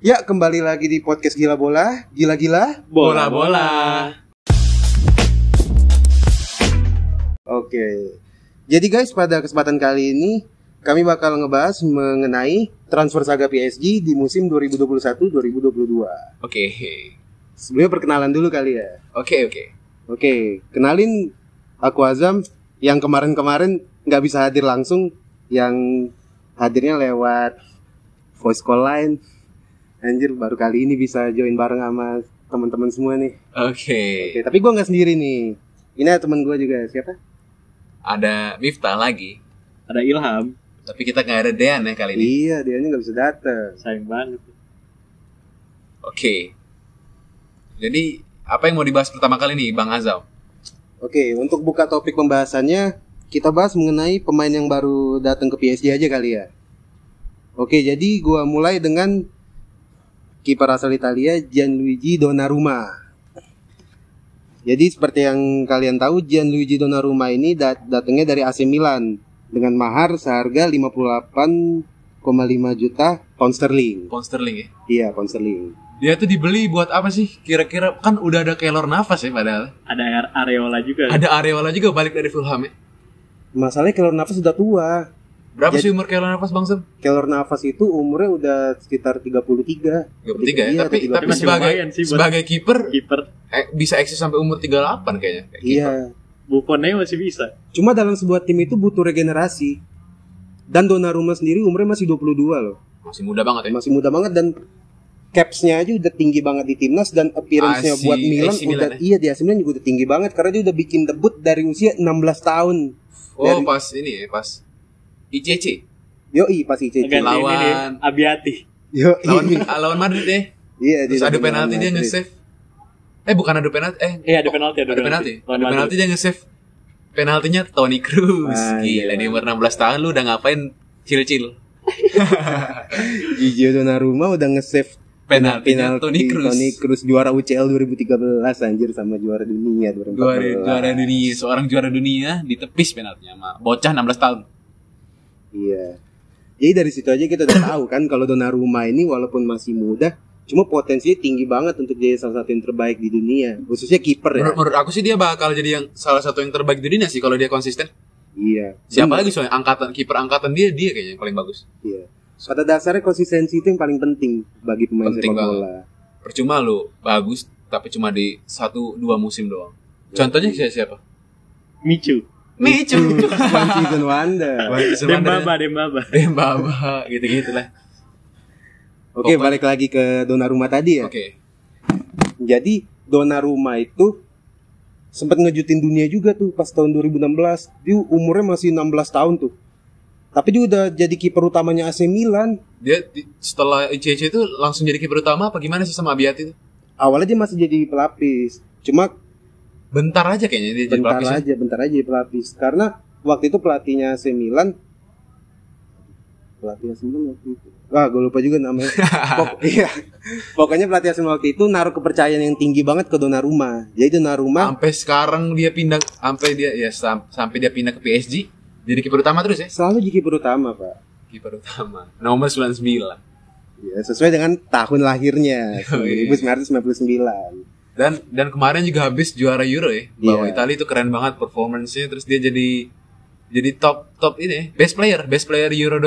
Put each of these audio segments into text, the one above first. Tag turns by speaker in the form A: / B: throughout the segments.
A: Ya, kembali lagi di podcast Gila Bola. Gila-gila.
B: Bola-bola.
A: Oke. Jadi guys, pada kesempatan kali ini kami bakal ngebahas mengenai transfer saga PSG di musim 2021-2022.
B: Oke.
A: Sebelumnya perkenalan dulu kali ya.
B: Oke, oke.
A: Oke, kenalin aku Azam yang kemarin-kemarin nggak bisa hadir langsung, yang hadirnya lewat voice call line. Anjir, baru kali ini bisa join bareng sama teman-teman semua nih.
B: Oke.
A: Oke, tapi gua nggak sendiri nih. Ini ada teman gua juga siapa?
B: Ada Miftah lagi.
C: ada Ilham
B: Tapi kita nggak ada Dean ya kali ini.
A: Iya, dia nggak bisa datang.
C: sayang banget
B: Oke. Jadi apa yang mau dibahas pertama kali nih Bang Azam?
A: Oke, untuk buka topik pembahasannya, kita bahas mengenai pemain yang baru datang ke PSG aja kali ya. Oke, jadi gua mulai dengan kiper asal Italia Gianluigi Donnarumma. Jadi seperti yang kalian tahu Gianluigi Donnarumma ini dat- datangnya dari AC Milan dengan mahar seharga 58,5 juta pound sterling.
B: Pound Sterling ya.
A: Iya, pound sterling.
B: Dia tuh dibeli buat apa sih? Kira-kira kan udah ada Keylor Navas ya padahal.
C: ada Are- Areola juga
B: Ada Areola juga balik dari Fulham ya.
A: Masalahnya kalau nafas sudah tua.
B: Berapa
A: Jadi-
B: sih umur Keylor Navas Bang Sam?
A: Kelor nafas itu umurnya udah sekitar 33.
B: 33 ya.
A: Iya,
B: tapi
A: tiga puluh.
B: tapi
C: Masih
B: sebagai
C: lumayan sih buat-
B: sebagai kiper
C: kiper
B: eh, bisa eksis sampai umur 38 kayaknya. Kayak gitu. kiper.
A: Iya.
C: Buffonnya masih bisa
A: Cuma dalam sebuah tim itu butuh regenerasi. Dan Donnarumma sendiri umurnya masih 22 loh.
B: Masih muda banget ya.
A: Masih muda banget dan capsnya aja udah tinggi banget di timnas dan appearance-nya
B: AC
A: buat Milan
B: AC Milan ya?
A: udah iya di AC Milan juga udah tinggi banget karena dia udah bikin debut dari usia 16 tahun.
B: Oh,
A: Dari-
B: pas ini ya, pas ICC.
A: Yoi pas ICC.
C: Gantiin ini nih,
B: Lawan.
C: Abiati
A: Yoi.
B: Lawan lawan Madrid ya.
A: Iya,
B: Terus
A: dia udah
B: ada penalti
A: menang
B: dia
A: Madrid.
B: nge-save. Eh bukan ada penalti, eh
C: eh ada penalti ada,
B: ada penalti.
C: Lawan
B: Ada
C: Madrid.
B: penalti dia nge-save. Penaltinya Toni Kroos.
A: Ah, iya.
B: Gila di umur 16 tahun lu udah ngapain cil-cil.
A: Gigi Donnarumma udah nge-save
B: Penaltinya Toni Kroos.
A: Toni Kroos juara UCL 2013 anjir sama juara dunia 2014.
B: Juara, juara dunia, seorang juara dunia ditepis penaltinya sama bocah 16 tahun.
A: Iya. Jadi dari situ aja kita udah tahu kan kalau Donnarumma ini walaupun masih muda, cuma potensinya tinggi banget untuk jadi salah satu yang terbaik di dunia, khususnya kiper ya.
B: Menurut, menurut aku sih dia bakal jadi yang salah satu yang terbaik di dunia sih kalau dia konsisten.
A: Iya.
B: Siapa
A: Bener.
B: lagi soalnya angkatan kiper angkatan dia dia kayaknya yang paling bagus.
A: Iya. Pada dasarnya konsistensi itu yang paling penting bagi pemain
B: Penting
A: sepak
B: banget.
A: bola.
B: Percuma lu bagus tapi cuma di satu dua musim doang.
A: Iya.
B: Contohnya siapa? siapa?
C: Michu
B: Micu.
A: One season wonder.
C: Dembaba Dembaba
B: Dembaba gitu-gitu lah.
A: Oke,
B: Pokoknya-
A: balik lagi ke Donnarumma tadi ya.
B: Oke.
A: Jadi Donnarumma itu sempat ngejutin dunia juga tuh pas tahun 2016. Dia umurnya masih 16 tahun tuh. Tapi dia udah jadi kiper utamanya AC Milan.
B: Dia di- setelah ICC itu langsung jadi kiper utama apa gimana sih sama Abiati itu?
A: Awalnya dia masih jadi pelapis. Cuma
B: Bentar aja kayaknya dia jadi
A: bentar
B: pelapis. ya.
A: aja, bentar aja jadi pelapis. Karena waktu itu pelatihnya AC Milan pelatih AC Milan waktu itu. Ah, gue lupa juga namanya. Pok- iya. Pokoknya pelatih AC Milan waktu itu naruh kepercayaan yang tinggi banget ke Donnarumma. Jadi Donnarumma
B: Sampai sekarang dia pindah sampai dia ya sam- sampai dia pindah ke PSG jadi kiper utama terus ya.
A: selalu jadi kiper utama, Pak.
B: Kiper utama. Nomor 99.
A: Ya, sesuai dengan tahun lahirnya,
B: Yoi.
A: 1999.
B: Dan dan kemarin juga habis juara Euro ya. Bahwa
A: Iya.
B: Italia itu keren banget performance-nya terus dia jadi jadi top top ini ya, best player, best player Euro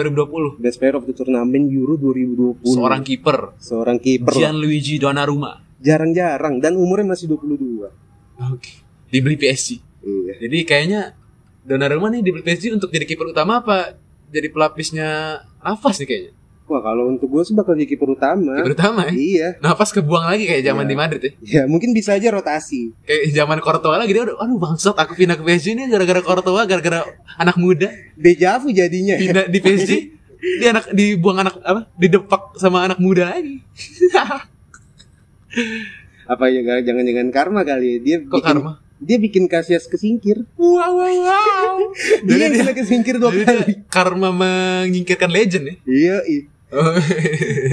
B: 2020.
A: Best player of the tournament Euro 2020.
B: Seorang kiper,
A: seorang kiper. lah.
B: Gianluigi Donnarumma.
A: Jarang-jarang dan umurnya masih 22.
B: Ah, Oke. Dibeli PSG.
A: Iya.
B: Jadi kayaknya Donnarumma nih dibeli PSG untuk jadi kiper utama apa jadi pelapisnya Nafas nih kayaknya.
A: Wah, kalau untuk gue sih bakal jadi kiper utama.
B: Kiper utama ya.
A: Iya.
B: Nafas kebuang lagi kayak zaman di Madrid
A: Ya,
B: ya.
A: mungkin bisa aja rotasi.
B: Kayak zaman Courtois lagi dia udah aduh bangsat aku pindah ke PSG ini gara-gara Courtois, gara-gara anak muda
A: Deja vu jadinya.
B: pindah di PSG di anak dibuang anak apa didepak sama anak muda lagi.
A: Apa ya gara- jangan-jangan karma kali ya. Dia
B: Kok
A: bikin
B: karma?
A: dia bikin Casillas kesingkir.
B: Wow wow wow.
A: Dia yang
B: Jadi dia-
A: kena kesingkir dua
B: jadi dia
A: kali.
B: karma menyingkirkan legend ya.
A: Iya, iya.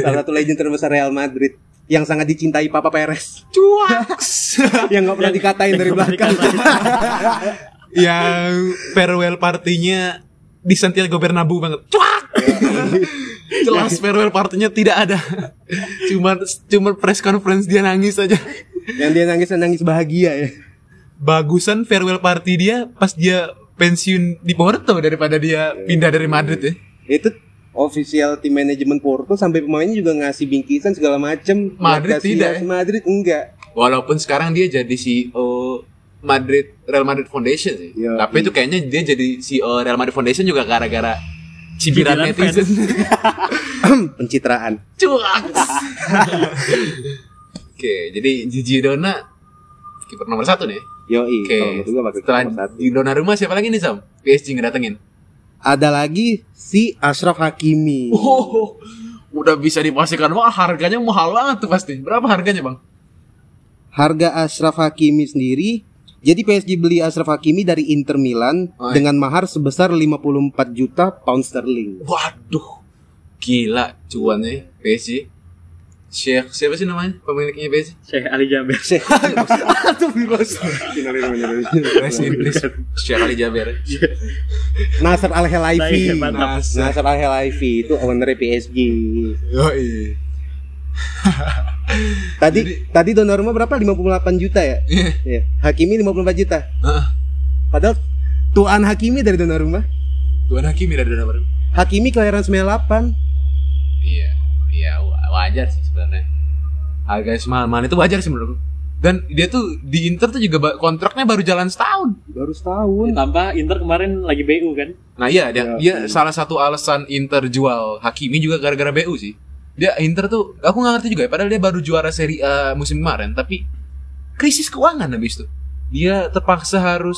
A: salah satu legend terbesar Real Madrid yang sangat dicintai Papa Perez
B: Cuaks.
A: yang nggak pernah dikatain dari belakang.
B: yang farewell partinya di Santiago Bernabeu banget. Cuak. Jelas farewell partinya tidak ada. Cuman cuman press conference dia nangis aja.
A: Yang dia nangis nangis bahagia ya.
B: Bagusan farewell party dia pas dia pensiun di Porto daripada dia pindah dari Madrid ya.
A: Itu official tim manajemen Porto sampai pemainnya juga ngasih bingkisan segala macem.
B: Madrid
A: Nggak kasih
B: tidak,
A: ya,
B: ya?
A: Madrid enggak.
B: Walaupun sekarang dia jadi CEO Madrid Real Madrid Foundation sih.
A: Iya.
B: Tapi itu kayaknya dia jadi CEO Real Madrid Foundation juga gara-gara cibiran
C: Cibiran
B: netizen.
A: Pencitraan.
B: Cuaks. Oke, jadi Gigi Dona kiper nomor satu nih.
A: Yoi.
B: Oke.
A: Kalau menurut gua bakal
B: Setelah
A: nomor satu.
B: di Donnarumma siapa lagi nih Sam? PSG ngedatengin.
A: Ada lagi si Ashraf Hakimi.
B: Oh, udah bisa dipastikan wah harganya mahal banget tuh pasti. Berapa harganya bang?
A: Harga Ashraf Hakimi sendiri jadi PSG beli Ashraf Hakimi dari Inter Milan
B: Oh, iya.
A: dengan mahar sebesar 54 juta pound sterling.
B: Waduh, gila cuannya PSG. Sheikh siapa sih namanya pemiliknya PSG?
C: Syekh Ali Jaber.
A: Syekh.
B: Rest in peace, Sheikh Ali Jaber.
A: Nasser Al Helaifi.
C: Baik, mantap.
B: Nasr.
A: Nasser Al Helaifi itu owner PSG.
B: Yoi.
A: Tadi tadi Donnarumma berapa? 58 juta ya?
B: Iya.
A: Iya. Hakimi 54 juta.
B: Heeh.
A: Padahal tuan Hakimi dari Donnarumma.
B: Tuan Hakimi dari Donnarumma.
A: Hakimi kelahiran 98.
B: Iya, iya wa- wajar sih sebenarnya. Harga semalaman itu wajar sih menurut gue. Dan dia tuh di Inter tuh juga ba- kontraknya baru jalan setahun.
A: Baru setahun.
B: Iya.
C: Tambah Inter kemarin lagi BU kan?
B: Nah iya, dia,
A: Ya,
B: dia salah satu alasan Inter jual Hakimi juga gara-gara BU sih. Dia Inter tuh, aku nggak ngerti juga. ya, Padahal dia baru juara Serie A musim kemarin, tapi krisis keuangan habis itu. Dia terpaksa harus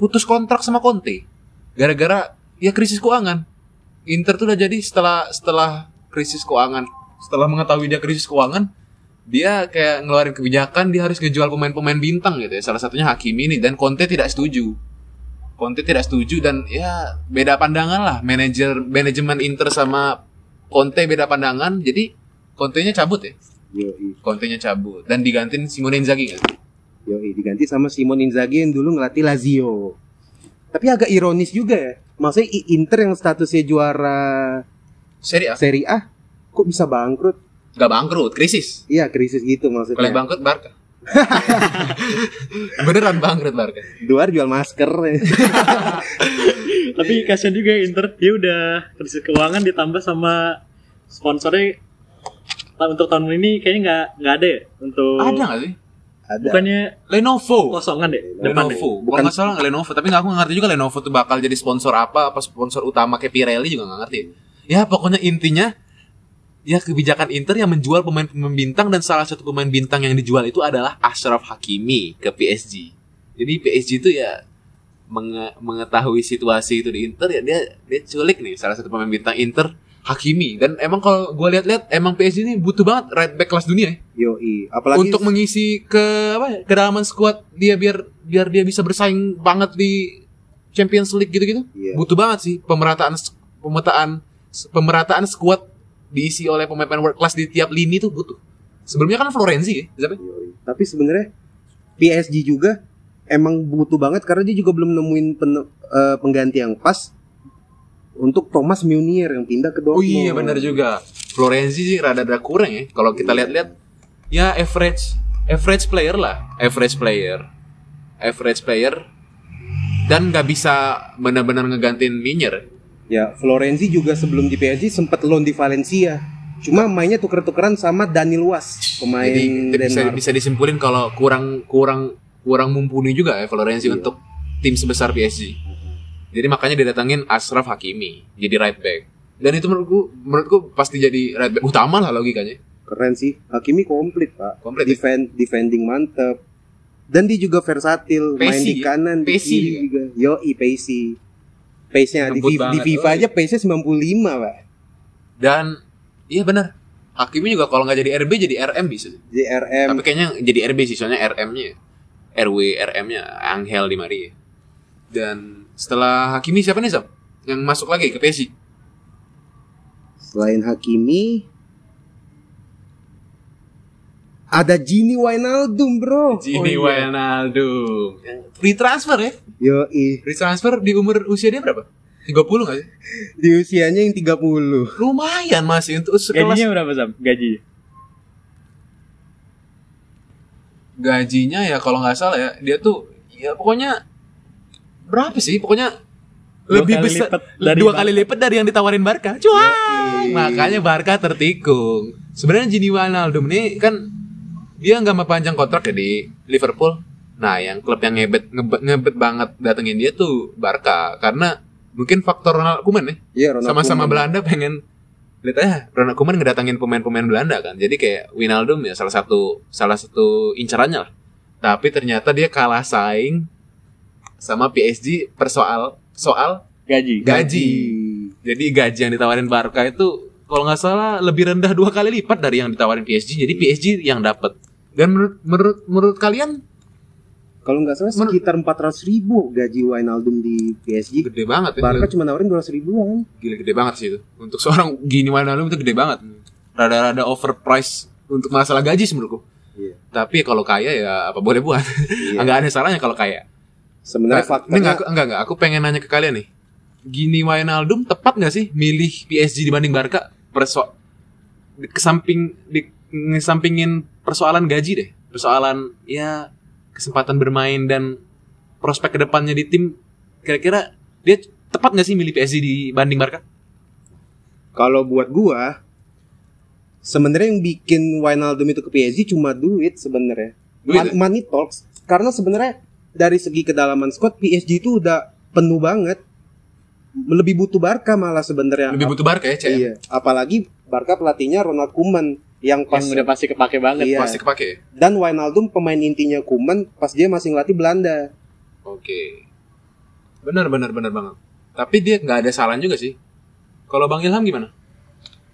B: putus kontrak sama Conte gara-gara ya krisis keuangan. Inter tuh udah jadi setelah setelah krisis keuangan, setelah mengetahui dia krisis keuangan, dia kayak ngeluarin kebijakan dia harus ngejual pemain-pemain bintang gitu ya. Salah satunya Hakimi ini dan Conte tidak setuju. Conte tidak setuju dan ya beda pandangan lah manajer manajemen Inter sama Conte beda pandangan jadi Conte-nya cabut ya
A: Yoi,
B: Conte-nya cabut dan digantiin Simone Inzaghi kan
A: yoi diganti sama Simon Inzaghi yang dulu ngelatih Lazio. Tapi agak ironis juga ya. Maksudnya I- Inter yang statusnya juara
B: Serie A
A: Serie A kok bisa bangkrut?
B: nggak bangkrut krisis
A: Iya, krisis gitu
B: kalau yang
A: maksudnya.
B: bangkrut Barca beneran bangkrut Barca
A: Duar jual masker.
B: Iya.
C: Tapi kasihan juga Inter dia udah krisis keuangan ditambah sama sponsornya Nah, untuk tahun ini kayaknya nggak nggak ada ya untuk
B: ada nggak Iya. sih
A: Ada.
C: bukannya
B: Lenovo
C: kosongan deh depan deh.
B: Lenovo
A: Bukan-
B: bukan nggak salah nggak Lenovo tapi nggak aku nggak ngerti juga Lenovo tuh bakal jadi sponsor apa apa sponsor utama kayak Pirelli juga nggak ngerti ya pokoknya intinya ya kebijakan Inter yang menjual pemain-pemain bintang dan salah satu pemain bintang yang dijual itu adalah Ashraf Hakimi ke PSG jadi PSG itu ya menge- mengetahui situasi itu di Inter ya dia dia culik nih salah satu pemain bintang Inter Hakimi dan emang kalau gue lihat-lihat emang PSG ini butuh banget right back kelas dunia ya
A: Yoi, apalagi
B: untuk mengisi ke apa ya, kedalaman squad dia biar biar dia bisa bersaing banget di Champions League gitu-gitu.
A: Iya.
B: Butuh banget sih pemerataan pemetaan pemerataan squad diisi oleh pemain-pemain world class di tiap lini tuh butuh. Sebelumnya kan Florenzi ya, Zabe?
A: Yoi. Tapi sebenarnya PSG juga emang butuh banget karena dia juga belum nemuin pen- eh, pengganti yang pas untuk Thomas Meunier yang pindah ke
B: Oh
A: Dortmund.
B: iya benar juga. Florenzi sih rada-rada kurang ya kalau kita lihat-lihat. Ya average average player lah, average player. Average player dan nggak bisa benar-benar ngegantiin Minyer.
A: Ya, Florenzi juga sebelum di PSG sempat loan di Valencia. Cuma mainnya tuker-tukeran sama Daniel Was, pemain
B: Jadi bisa
A: Denmark.
B: bisa disimpulin kalau kurang kurang kurang mumpuni juga ya Florenzi
A: Iya.
B: untuk tim sebesar PSG. Jadi makanya didatangin Ashraf Hakimi jadi right back. Dan itu menurutku menurutku pasti jadi right back utama lah logikanya.
A: Keren sih. Hakimi komplit, Pak.
B: Komplit. ya.
A: Defend defending mantep. Dan dia juga versatil, main
B: Pacey
A: di
B: ya?
A: kanan, di
B: Pacey
A: kiri juga. Yoi, pacey. Pace-nya di,
B: Ngebut
A: di, di
B: banget.
A: FIFA
B: Yoi.
A: aja pace-nya 95, Pak.
B: Dan iya benar. Hakimi juga kalau nggak jadi RB jadi RM bisa.
A: JRM
B: Tapi kayaknya jadi RB sih soalnya RM-nya RW RM-nya Angel Di Maria. Dan setelah Hakimi siapa nih Sam? Yang masuk lagi ke PSG?
A: selain Hakimi ada Gini Wijnaldum bro
B: Gini
C: Oh, iya.
B: Wijnaldum. Free transfer ya?
A: yoi
B: Free transfer di umur usia dia berapa? 30 gak sih?
A: Di usianya yang 30.
B: Lumayan masih untuk sekelas
C: Gajinya berapa Sam? Gaji.
B: gajinya ya kalau nggak salah ya dia tuh ya pokoknya berapa sih pokoknya
C: Dua
B: lebih
C: kali
B: besar
C: lipat dari
B: dua
C: Barca.
B: kali lipat dari yang ditawarin Barca cuy
A: Yoi.
B: makanya Barca tertikung sebenarnya Gini Wijnaldum ini kan dia nggak mempanjang kontrak ya di Liverpool nah yang klub yang ngebet ngebet, ngebet banget datengin dia tuh Barca karena mungkin faktor Ronald Koeman ya
A: Iya, Ronald
B: sama-sama
A: Koeman.
B: Belanda pengen lihat aja Ronald Koeman ngedatangin pemain-pemain Belanda kan jadi kayak Wijnaldum ya salah satu salah satu incarannya lah tapi ternyata dia kalah saing sama PSG persoal soal
C: Gaji.
B: gaji jadi gaji yang ditawarin Barca itu kalau nggak salah lebih rendah dua kali lipat dari yang ditawarin PSG jadi PSG yang dapat dan menurut menurut menurut kalian
A: Kalau nggak salah
B: Menurut-
A: sekitar 400 ribu gaji Wijnaldum di PSG.
B: gede banget ya
A: Barca cuma nawarin 200 ribuan.
B: gila gede banget sih itu untuk seorang gini Wijnaldum itu gede banget rada-rada overpriced untuk masalah gaji sih menurutku
A: Iya.
B: tapi kalau kaya ya apa boleh buat nggak ada salahnya kalau kaya
A: Sebenarnya
B: Nah,
A: faktanya
B: ini nggak- nggak nggak aku pengen nanya ke kalian nih gini Wijnaldum tepat nggak sih milih PSG dibanding Barca perso di- kesamping di ngesampingin persoalan gaji deh persoalan ya kesempatan bermain dan prospek kedepannya di tim kira-kira dia tepat nggak sih milih PSG dibanding Barca
A: Kalau buat gua sebenarnya yang bikin Wijnaldum itu ke PSG cuma duit sebenarnya.
B: Duit, ya?
A: Man- money talks. Karena sebenarnya dari segi kedalaman squad PSG itu udah penuh banget. Lebih butuh Barca malah sebenarnya.
B: lebih butuh Barca ya CM
A: Iya, apalagi Barca pelatihnya Ronald Koeman yang pas
C: Yang udah pasti kepake banget.
A: Iya.
B: pasti kepake ya?
A: dan Wijnaldum pemain intinya Koeman pas dia masih ngelatih Belanda.
B: Oke. Benar benar benar banget. Tapi dia nggak ada salah juga sih. Kalau Bang Ilham gimana?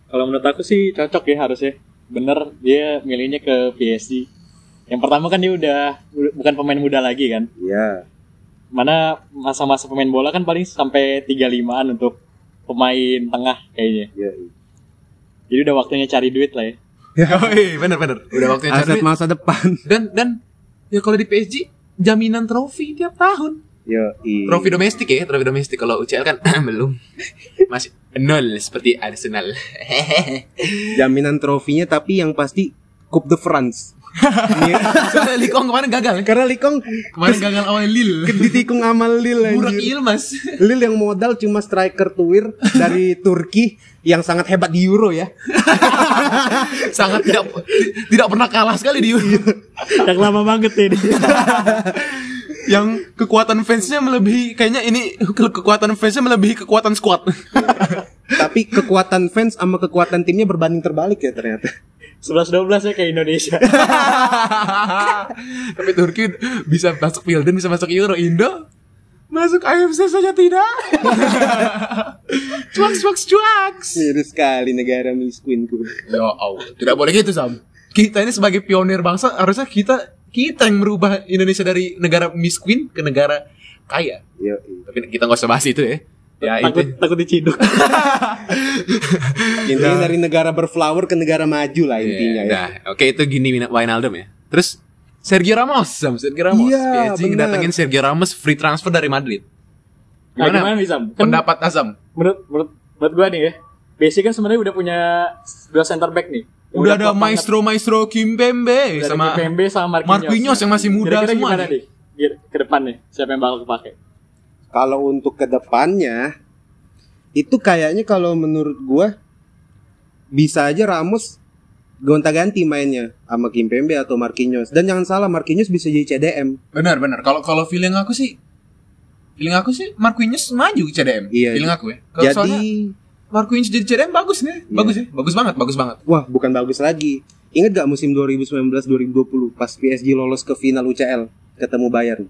C: Kalau menurut aku sih cocok ya harusnya. Bener dia milihnya ke PSG. Yang pertama kan dia udah bukan pemain muda lagi kan.
A: Iya.
C: Mana masa-masa pemain bola kan paling sampai 35-an untuk pemain tengah kayaknya.
A: Iya.
C: Jadi udah waktunya cari duit lah ya.
B: Yoi, benar benar. Udah waktunya cari
A: Aset
B: duit.
A: masa depan.
B: dan dan ya kalau di PSG jaminan trofi tiap tahun.
A: Iya.
B: Trofi domestik ya, trofi domestik. Kalau UCL kan belum. Masih nol seperti Arsenal.
A: Jaminan trofinya tapi yang pasti Coupe de France. Iya.
B: Soalnya Likong kemarin gagal. kan?
A: Karena Likong
B: Kemarin gagal awal Lille.
A: ditikung sama Lil
B: Burak
A: anjir.
B: Ilmas.
A: Lil yang modal cuma striker tuir dari Turki yang sangat hebat di Euro ya.
B: Sangat tidak tidak pernah kalah sekali di Euro.
C: Yang lama banget ini.
B: yang kekuatan fansnya melebihi kayaknya ini ke- kekuatan fansnya melebihi kekuatan squad
A: Tapi kekuatan fans sama kekuatan timnya berbanding terbalik ya ternyata.
C: 11-12 ya kayak Indonesia.
B: tapi Turki bisa masuk Wimbledon bisa masuk Euro Indo masuk AFC saja tidak cuaks cuaks cuaks
A: Seru sekali negara miskinku.
B: ya Allah tidak boleh gitu Sam kita ini sebagai pionir bangsa harusnya kita kita yang merubah Indonesia dari negara miskin ke negara kaya
A: Yo,
B: tapi kita nggak usah bahas itu ya ya
C: takut
B: itu
C: takut diciduk.
A: intinya dari negara berflower ke negara maju lah intinya ya.
B: Iya, Nah, oke itu gini Win- Wijnaldum ya. Terus Sergio Ramos, Sam, Sergio Ramos.
A: Iya, benar.
B: PSG ngedatengin Sergio Ramos free transfer dari Madrid.
C: Nah,
B: Gimana?
C: gimana bisa? Kan
B: Pendapat Azam.
C: menurut menurut menurut gua nih ya. PSG kan sebenarnya udah punya dua center back nih. Yang
B: Udah ada
C: kuat banget.
B: maestro-maestro Kim Pembe
C: Dari
B: sama
C: KPMB sama Marquinhos.
B: Marquinhos yang masih muda
C: Kira-kira
B: semua
C: gimana
B: nih.
C: nih? Kira- Ke depan nih, siapa yang bakal kepake?
A: Kalau untuk kedepannya itu kayaknya kalau menurut gua bisa aja Ramos gonta-ganti mainnya sama Kimpembe atau Marquinhos. Dan jangan salah Marquinhos bisa jadi CDM.
B: Benar, benar. Kalau kalau feeling aku sih feeling aku sih Marquinhos maju ke CDM.
A: Iya.
B: Feeling aku ya. Kalau
A: Jadi
B: soalnya Marquinhos jadi CDM bagus nih. Bagus ya. Bagus banget, bagus banget.
A: wah bukan bagus lagi. Ingat gak musim 2019-2020 pas PSG lolos ke final UCL ketemu Bayern.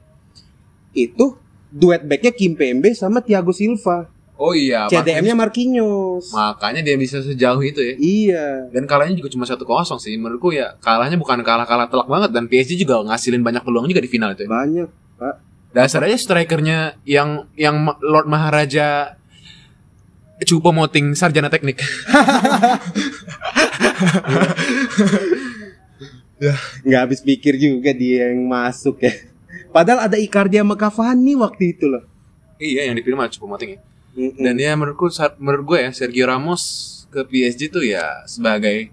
A: Itu duet backnya Kimpembe sama Thiago Silva.
B: Oh iya,
A: CDM-nya
B: Marquinhos-
A: Marquinhos.
B: makanya dia bisa sejauh itu ya.
A: Iya.
B: dan kalahnya juga cuma satu kosong sih menurutku ya kalahnya bukan kalah kalah telak banget dan PSG juga ngasilin banyak peluang juga di final itu ya.
A: Banyak, Pak.
B: dasar aja strikernya yang yang Ma- Lord Maharaja Cupo Moting sarjana teknik
A: Nggak habis pikir juga dia yang masuk ya. Padahal ada Icardi sama Cavani waktu itu loh.
B: iya yang dipilih mah Cupo Moting ya
A: Mm-mm.
B: Dan ya menurutku sa- menurut gue ya Sergio Ramos ke PSG tuh ya sebagai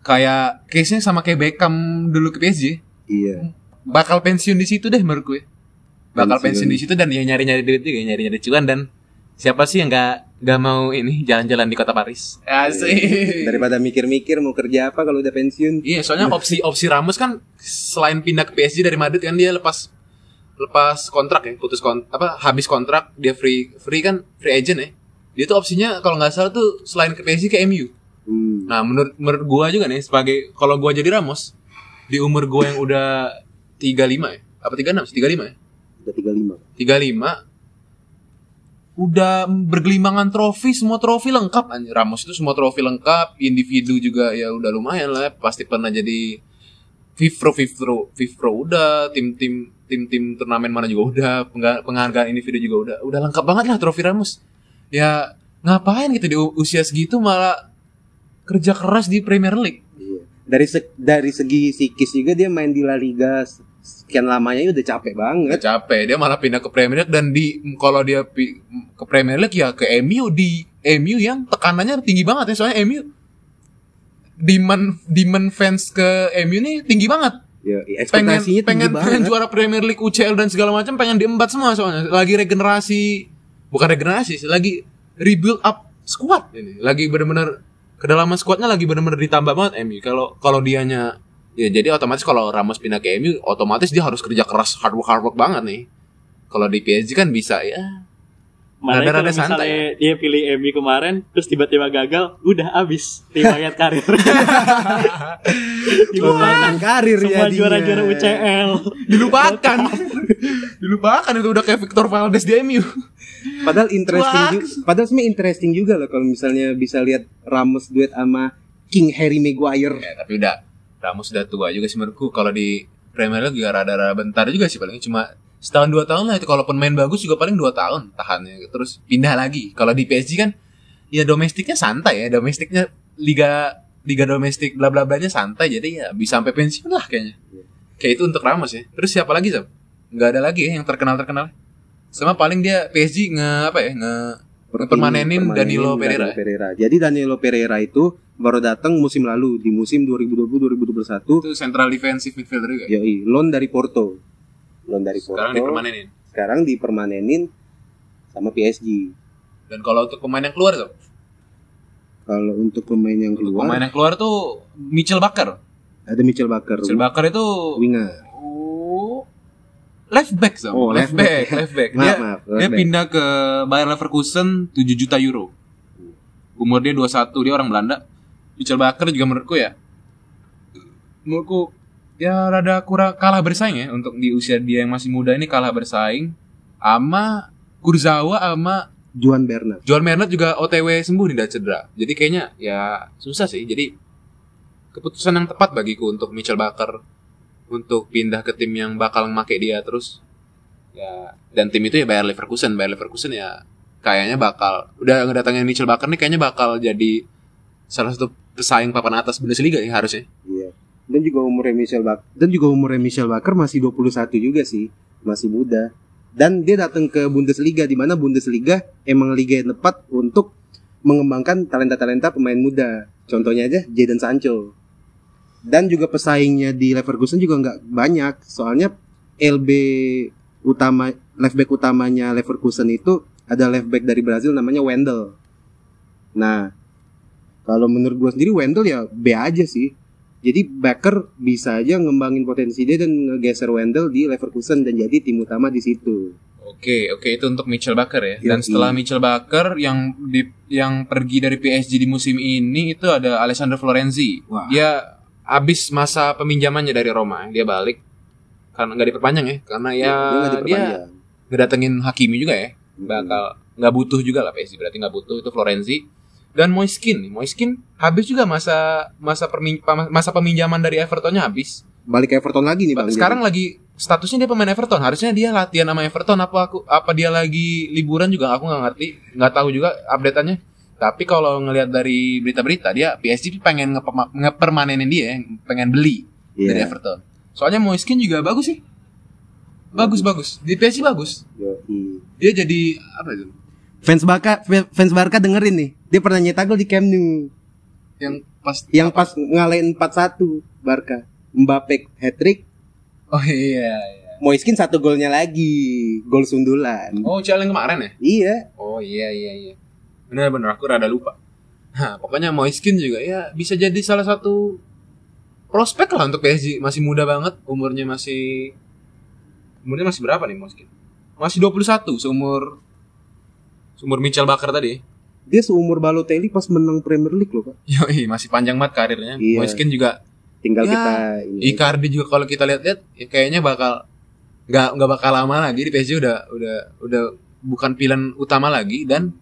B: kayak case-nya sama kayak Beckham dulu ke PSG.
A: iya.
B: Bakal pensiun di situ deh menurut gue. Bakal pensiun,
A: Pensiun.
B: di situ dan ya nyari-nyari duit juga, nyari-nyari cuan dan siapa sih yang nggak nggak mau ini jalan-jalan di kota Paris? Asik.
A: Daripada mikir-mikir mau kerja apa kalau udah pensiun.
B: Iya, soalnya opsi opsi Ramos kan selain pindah ke PSG dari Madrid kan dia lepas lepas kontrak ya, putus kon apa habis kontrak dia free free kan free agent ya. Dia tuh opsinya kalau nggak salah tuh selain ke PSG ke MU.
A: Hmm.
B: Nah, menurut menurut gua juga nih sebagai kalau gua jadi Ramos di umur gua yang udah 35 ya, apa 36 sih 35 ya.
A: Udah 35.
B: 35 udah bergelimangan trofi semua trofi lengkap anjir. Ramos itu semua trofi lengkap individu juga ya udah lumayan lah pasti pernah jadi Fifro Fifro Fifro udah tim tim tim tim turnamen mana juga udah pengga- penghargaan individu juga udah udah lengkap banget lah trofi Ramos ya ngapain gitu di u- usia segitu malah kerja keras di Premier League
A: Iya. Dari se- dari segi psikis juga dia main di La Liga sekian lamanya ya udah capek banget.
B: Nggak capek dia malah pindah ke Premier League dan di kalau dia pi- ke Premier League ya ke MU di MU yang tekanannya tinggi banget ya soalnya MU demand demand fans ke MU nih tinggi banget
A: Ya, iya,
B: pengen
A: ekspektasinya
B: pengen,
A: tinggi
B: pengen
A: banget.
B: juara Premier League UCL dan segala macam pengen diembat semua soalnya lagi regenerasi bukan regenerasi sih lagi rebuild up squad ini lagi benar-benar kedalaman squadnya lagi benar-benar ditambah banget MU kalau kalau dianya ya jadi otomatis kalau Ramos pindah ke MU otomatis dia harus kerja keras hard work hard work banget nih kalau di PSG kan bisa ya
C: Mana
B: Rada-rada
C: kalau misalnya
B: santai. ya.
C: dia pilih MU kemarin, terus tiba-tiba gagal, udah abis riwayat karir.
A: Pembangkang karir
C: Semua
A: jadinya.
C: juara-juara UCL.
B: dilupakan dilupakan itu udah kayak Victor Valdes di MU
A: Padahal interesting
B: Wah.
A: juga, padahal sebenarnya interesting juga loh kalau misalnya bisa lihat Ramos duet sama King Harry Maguire.
B: Ya, tapi udah Ramos sudah tua juga sih menurutku kalau di Premier League juga rada-rada bentar juga sih paling cuma setahun dua tahun lah itu kalaupun main bagus juga paling dua tahun tahannya terus pindah lagi kalau di PSG kan ya domestiknya santai ya domestiknya liga liga domestik bla bla blanya santai jadi ya bisa sampai pensiun lah kayaknya kayak itu untuk Ramos ya terus siapa lagi Sam? nggak ada lagi ya yang terkenal terkenal sama paling dia PSG nge apa ya nge permanenin Danilo Pereira.
A: Jadi Danilo Pereira itu baru datang musim lalu di musim 2020-2021.
B: itu central defensive midfielder juga
A: Yoi, loan dari Porto. Loan dari Porto.
B: sekarang dipermanenin
A: Sekarang dipermanenin sama PSG.
B: dan kalau untuk pemain yang keluar Sam?
A: Kalau untuk pemain yang keluar
B: Pemain yang keluar tuh Mitchell Baker.
A: ada Mitchell Barker,
B: Mitchell Baker itu
A: winger.
B: Oh, left back Sam.
A: Oh,
B: left,
A: left
B: back, left back.
A: Maaf,
B: Dia,
A: maaf.
B: dia
A: left back.
B: pindah ke Bayer Leverkusen 7 juta euro. Umur dia 21, dia orang Belanda. Mitchell Baker juga menurutku ya. Menurutku ya rada kurang kalah bersaing ya untuk di usia dia yang masih muda ini kalah bersaing ama Kurzawa ama
A: Juan Bernard.
B: Juan Bernat juga OTW sembuh nih dari cedera. Jadi kayaknya ya susah sih. Jadi keputusan yang tepat bagiku untuk Mitchell Baker untuk pindah ke tim yang bakal memakai dia terus. Ya dan tim itu ya Bayer Leverkusen. Bayer Leverkusen ya kayaknya bakal udah ngedatangin Mitchell Baker nih kayaknya bakal jadi salah satu pesaing papan atas Bundesliga ya harusnya.
A: Iya. Dan juga umurnya Michel Bak dan juga umurnya Michel Baker masih 21 juga sih, masih muda. Dan dia datang ke Bundesliga di mana Bundesliga emang liga yang tepat untuk mengembangkan talenta-talenta pemain muda. Contohnya aja Jadon Sancho. Dan juga pesaingnya di Leverkusen juga nggak banyak. Soalnya LB utama left back utamanya Leverkusen itu ada left back dari Brazil namanya Wendel. Nah, kalau menurut gue sendiri Wendel ya B aja sih. Jadi Baker bisa aja ngembangin potensi dia dan ngegeser Wendel di Leverkusen dan jadi tim utama di situ.
B: Oke, oke itu untuk Mitchell Baker ya. Dan
A: Yoi.
B: setelah Mitchell Baker yang di, yang pergi dari PSG di musim ini itu ada Alessandro Florenzi.
A: Wah.
B: Dia habis masa peminjamannya dari Roma, dia balik karena nggak diperpanjang ya, karena ya
A: Iya, Dia nggak
B: dia
A: diperpanjang.
B: ngedatengin Hakimi juga ya. Bakal nggak butuh juga lah PSG berarti nggak butuh itu Florenzi dan Moiskin. Moiskin habis juga masa masa permin, masa peminjaman dari Evertonnya habis.
A: Hmm. Balik ke Everton lagi nih
B: Ba-
A: bang.
B: sekarang lagi statusnya dia pemain Everton harusnya dia latihan sama Everton apa aku apa dia lagi liburan juga aku nggak ngerti nggak tahu juga updateannya tapi kalau ngelihat dari berita-berita dia PSG pengen ngepema- ngepermanenin dia pengen beli
A: Jadi.
B: dari
A: Iya.
B: Everton soalnya Moiskin juga bagus sih bagus bagus di PSG bagus
A: Yoi.
B: dia jadi apa itu
A: Fans Barca fans Barca dengerin nih. Dia pernah nyetak gol di Camp Nou
B: Yang pas
A: yang pas ngalahin 4-1 Barca. Mbappe hat-trick,
B: Oh iya, iya.
A: Moiskin satu golnya lagi, gol sundulan.
B: Oh, Cial yang kemarin ya?
A: Iya,
B: Oh iya iya iya. Benar benar aku rada lupa. Nah, pokoknya Moiskin juga ya bisa jadi salah satu prospek lah untuk PSG. Masih muda banget, umurnya masih umurnya masih berapa nih Moiskin? Masih 21 seumur seumur Michel Bakar tadi.
A: dia seumur Balotelli pas menang Premier League loh, Pak.
B: Yoi, masih panjang banget karirnya.
A: Iya.
B: Moiskin juga
A: Tinggal
B: Ya,
A: kita ini.
B: Icardi juga kalau kita lihat-lihat ya kayaknya bakal nggak nggak bakal lama lagi di PSG udah udah udah bukan pilihan utama lagi dan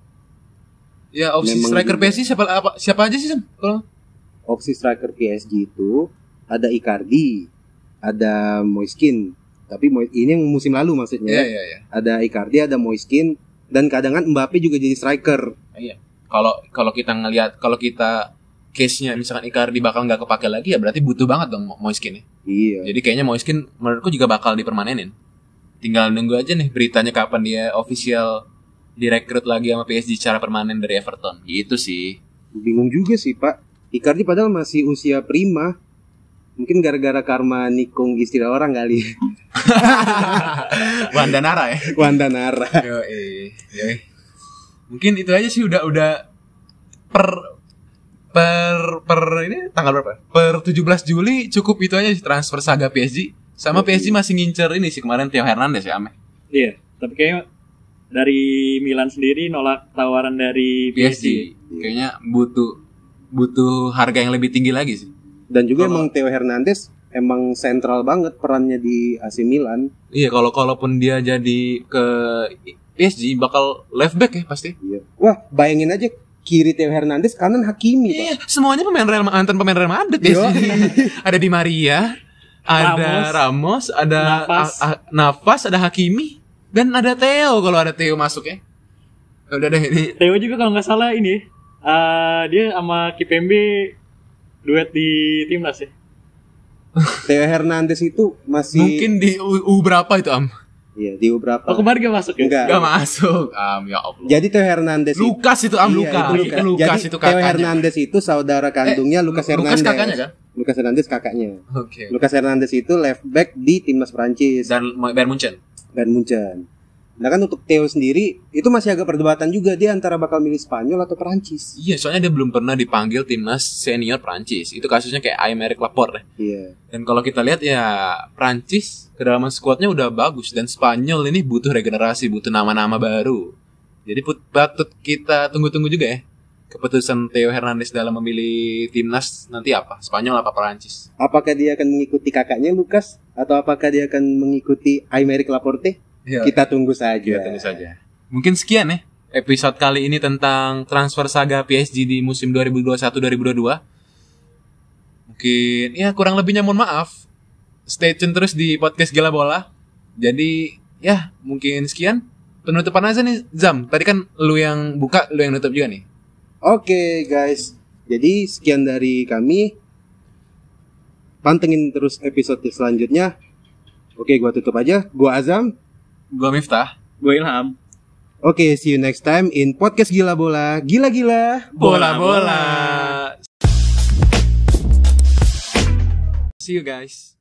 B: ya opsi
A: Memang
B: striker
A: juga.
B: PSG siapa apa siapa aja sih Sam? Kalau
A: opsi striker PSG itu ada Icardi, ada Moiskin. Tapi Mois- ini yang musim lalu
B: ya
A: maksudnya.
B: ya ya.
A: Ada Icardi, ada Moiskin dan kadang kan Mbappe juga jadi striker.
B: Kalau kalau kita ngelihat kalau kita case-nya misalkan Icardi bakal nggak kepake lagi ya berarti butuh banget dong Mo- Moiskin ya.
A: Iya.
B: Jadi kayaknya Moiskin menurutku juga bakal dipermanenin. Tinggal nunggu aja nih beritanya kapan dia official direkrut lagi sama PSG secara permanen dari Everton. Gitu sih.
A: Bingung juga sih, Pak. Icardi padahal masih usia prima. Mungkin gara-gara karma nikung istri orang kali.
B: Wanda Nara ya.
A: Wanda Nara.
B: Yoi, yoi. Mungkin itu aja sih udah udah per per per ini tanggal berapa? Per 17 Juli cukup itu aja sih transfer saga PSG. Sama PSG masih ngincer ini sih kemarin Theo Hernandez ya Ame.
C: Iya, tapi kayaknya dari Milan sendiri nolak tawaran dari PSG.
B: PSG kayaknya butuh butuh harga yang lebih tinggi lagi sih.
A: Dan juga
B: Kalau-
A: emang Theo Hernandez emang sentral banget perannya di AC Milan.
B: Iya, kalau kalaupun dia jadi ke PSG bakal left back ya pasti.
A: Iya. Wah, bayangin aja kiri Theo Hernandez, kanan Hakimi, Pak.
B: Iya, semuanya pemain Real mantan pemain Real Madrid
A: Yo.
B: ya. ada Di Maria, ada Ramos, ada
C: Navas.
B: A- A- Navas, ada Hakimi, dan ada Theo kalau ada Theo masuk ya. Udah deh ini.
C: Theo juga kalau nggak salah ini eh, dia sama Kipembe duet di timnas ya.
A: Theo Hernandez itu masih
B: Mungkin di U, U berapa itu, Am?
A: Iya, di berapa?
C: Oh kemarin gak masuk ya?
A: Enggak.
B: Gak masuk. Am, ya Allah.
A: Jadi Theo Hernandez itu
B: Lukas itu Am,
A: Iya,
B: Lukas.
A: itu Lukas.
B: Lukas
A: Jadi
B: itu
A: Theo
B: kakaknya.
A: Hernandez itu saudara kandungnya
B: Eh,
A: Lukas
B: Lu-
A: Hernandez.
B: Lukas kakaknya kan?
A: Lukas Hernandez kakaknya.
B: Oke.
A: Lukas Hernandez itu left back di timnas Prancis
B: Dan Bayern Munchen.
A: dan Munchen. Nah kan untuk Theo sendiri itu masih agak perdebatan juga dia antara bakal milih Spanyol atau Prancis.
B: Iya, soalnya dia belum pernah dipanggil timnas senior Prancis. Itu kasusnya kayak Aymeric Laporte.
A: Iya.
B: Dan kalau kita lihat ya Prancis kedalaman skuadnya udah bagus dan Spanyol ini butuh regenerasi, butuh nama-nama baru. Jadi put, patut kita tunggu-tunggu juga ya keputusan Theo Hernandez dalam memilih timnas nanti apa? Spanyol apa Prancis?
A: Apakah dia akan mengikuti kakaknya Lukas atau apakah dia akan mengikuti Aymeric Laporte?
B: Ya,
A: Kita tunggu saja.
B: kita tunggu saja. Mungkin sekian ya episode kali ini tentang transfer saga PSG di musim 2021-2022. Mungkin ya kurang lebihnya mohon maaf. Stay tune terus di podcast Gila Bola. Jadi ya mungkin sekian penutupan aja nih Zam. Tadi kan lu yang buka, lu yang nutup juga nih.
A: Oke guys, jadi sekian dari kami. Pantengin terus episode selanjutnya. Oke, gua tutup aja. Gua Azam.
B: Gua Miftah.
C: Gue Ilham.
A: Oke, see you next time in podcast Gila Bola. Gila-gila.
B: Bola-bola. See you guys.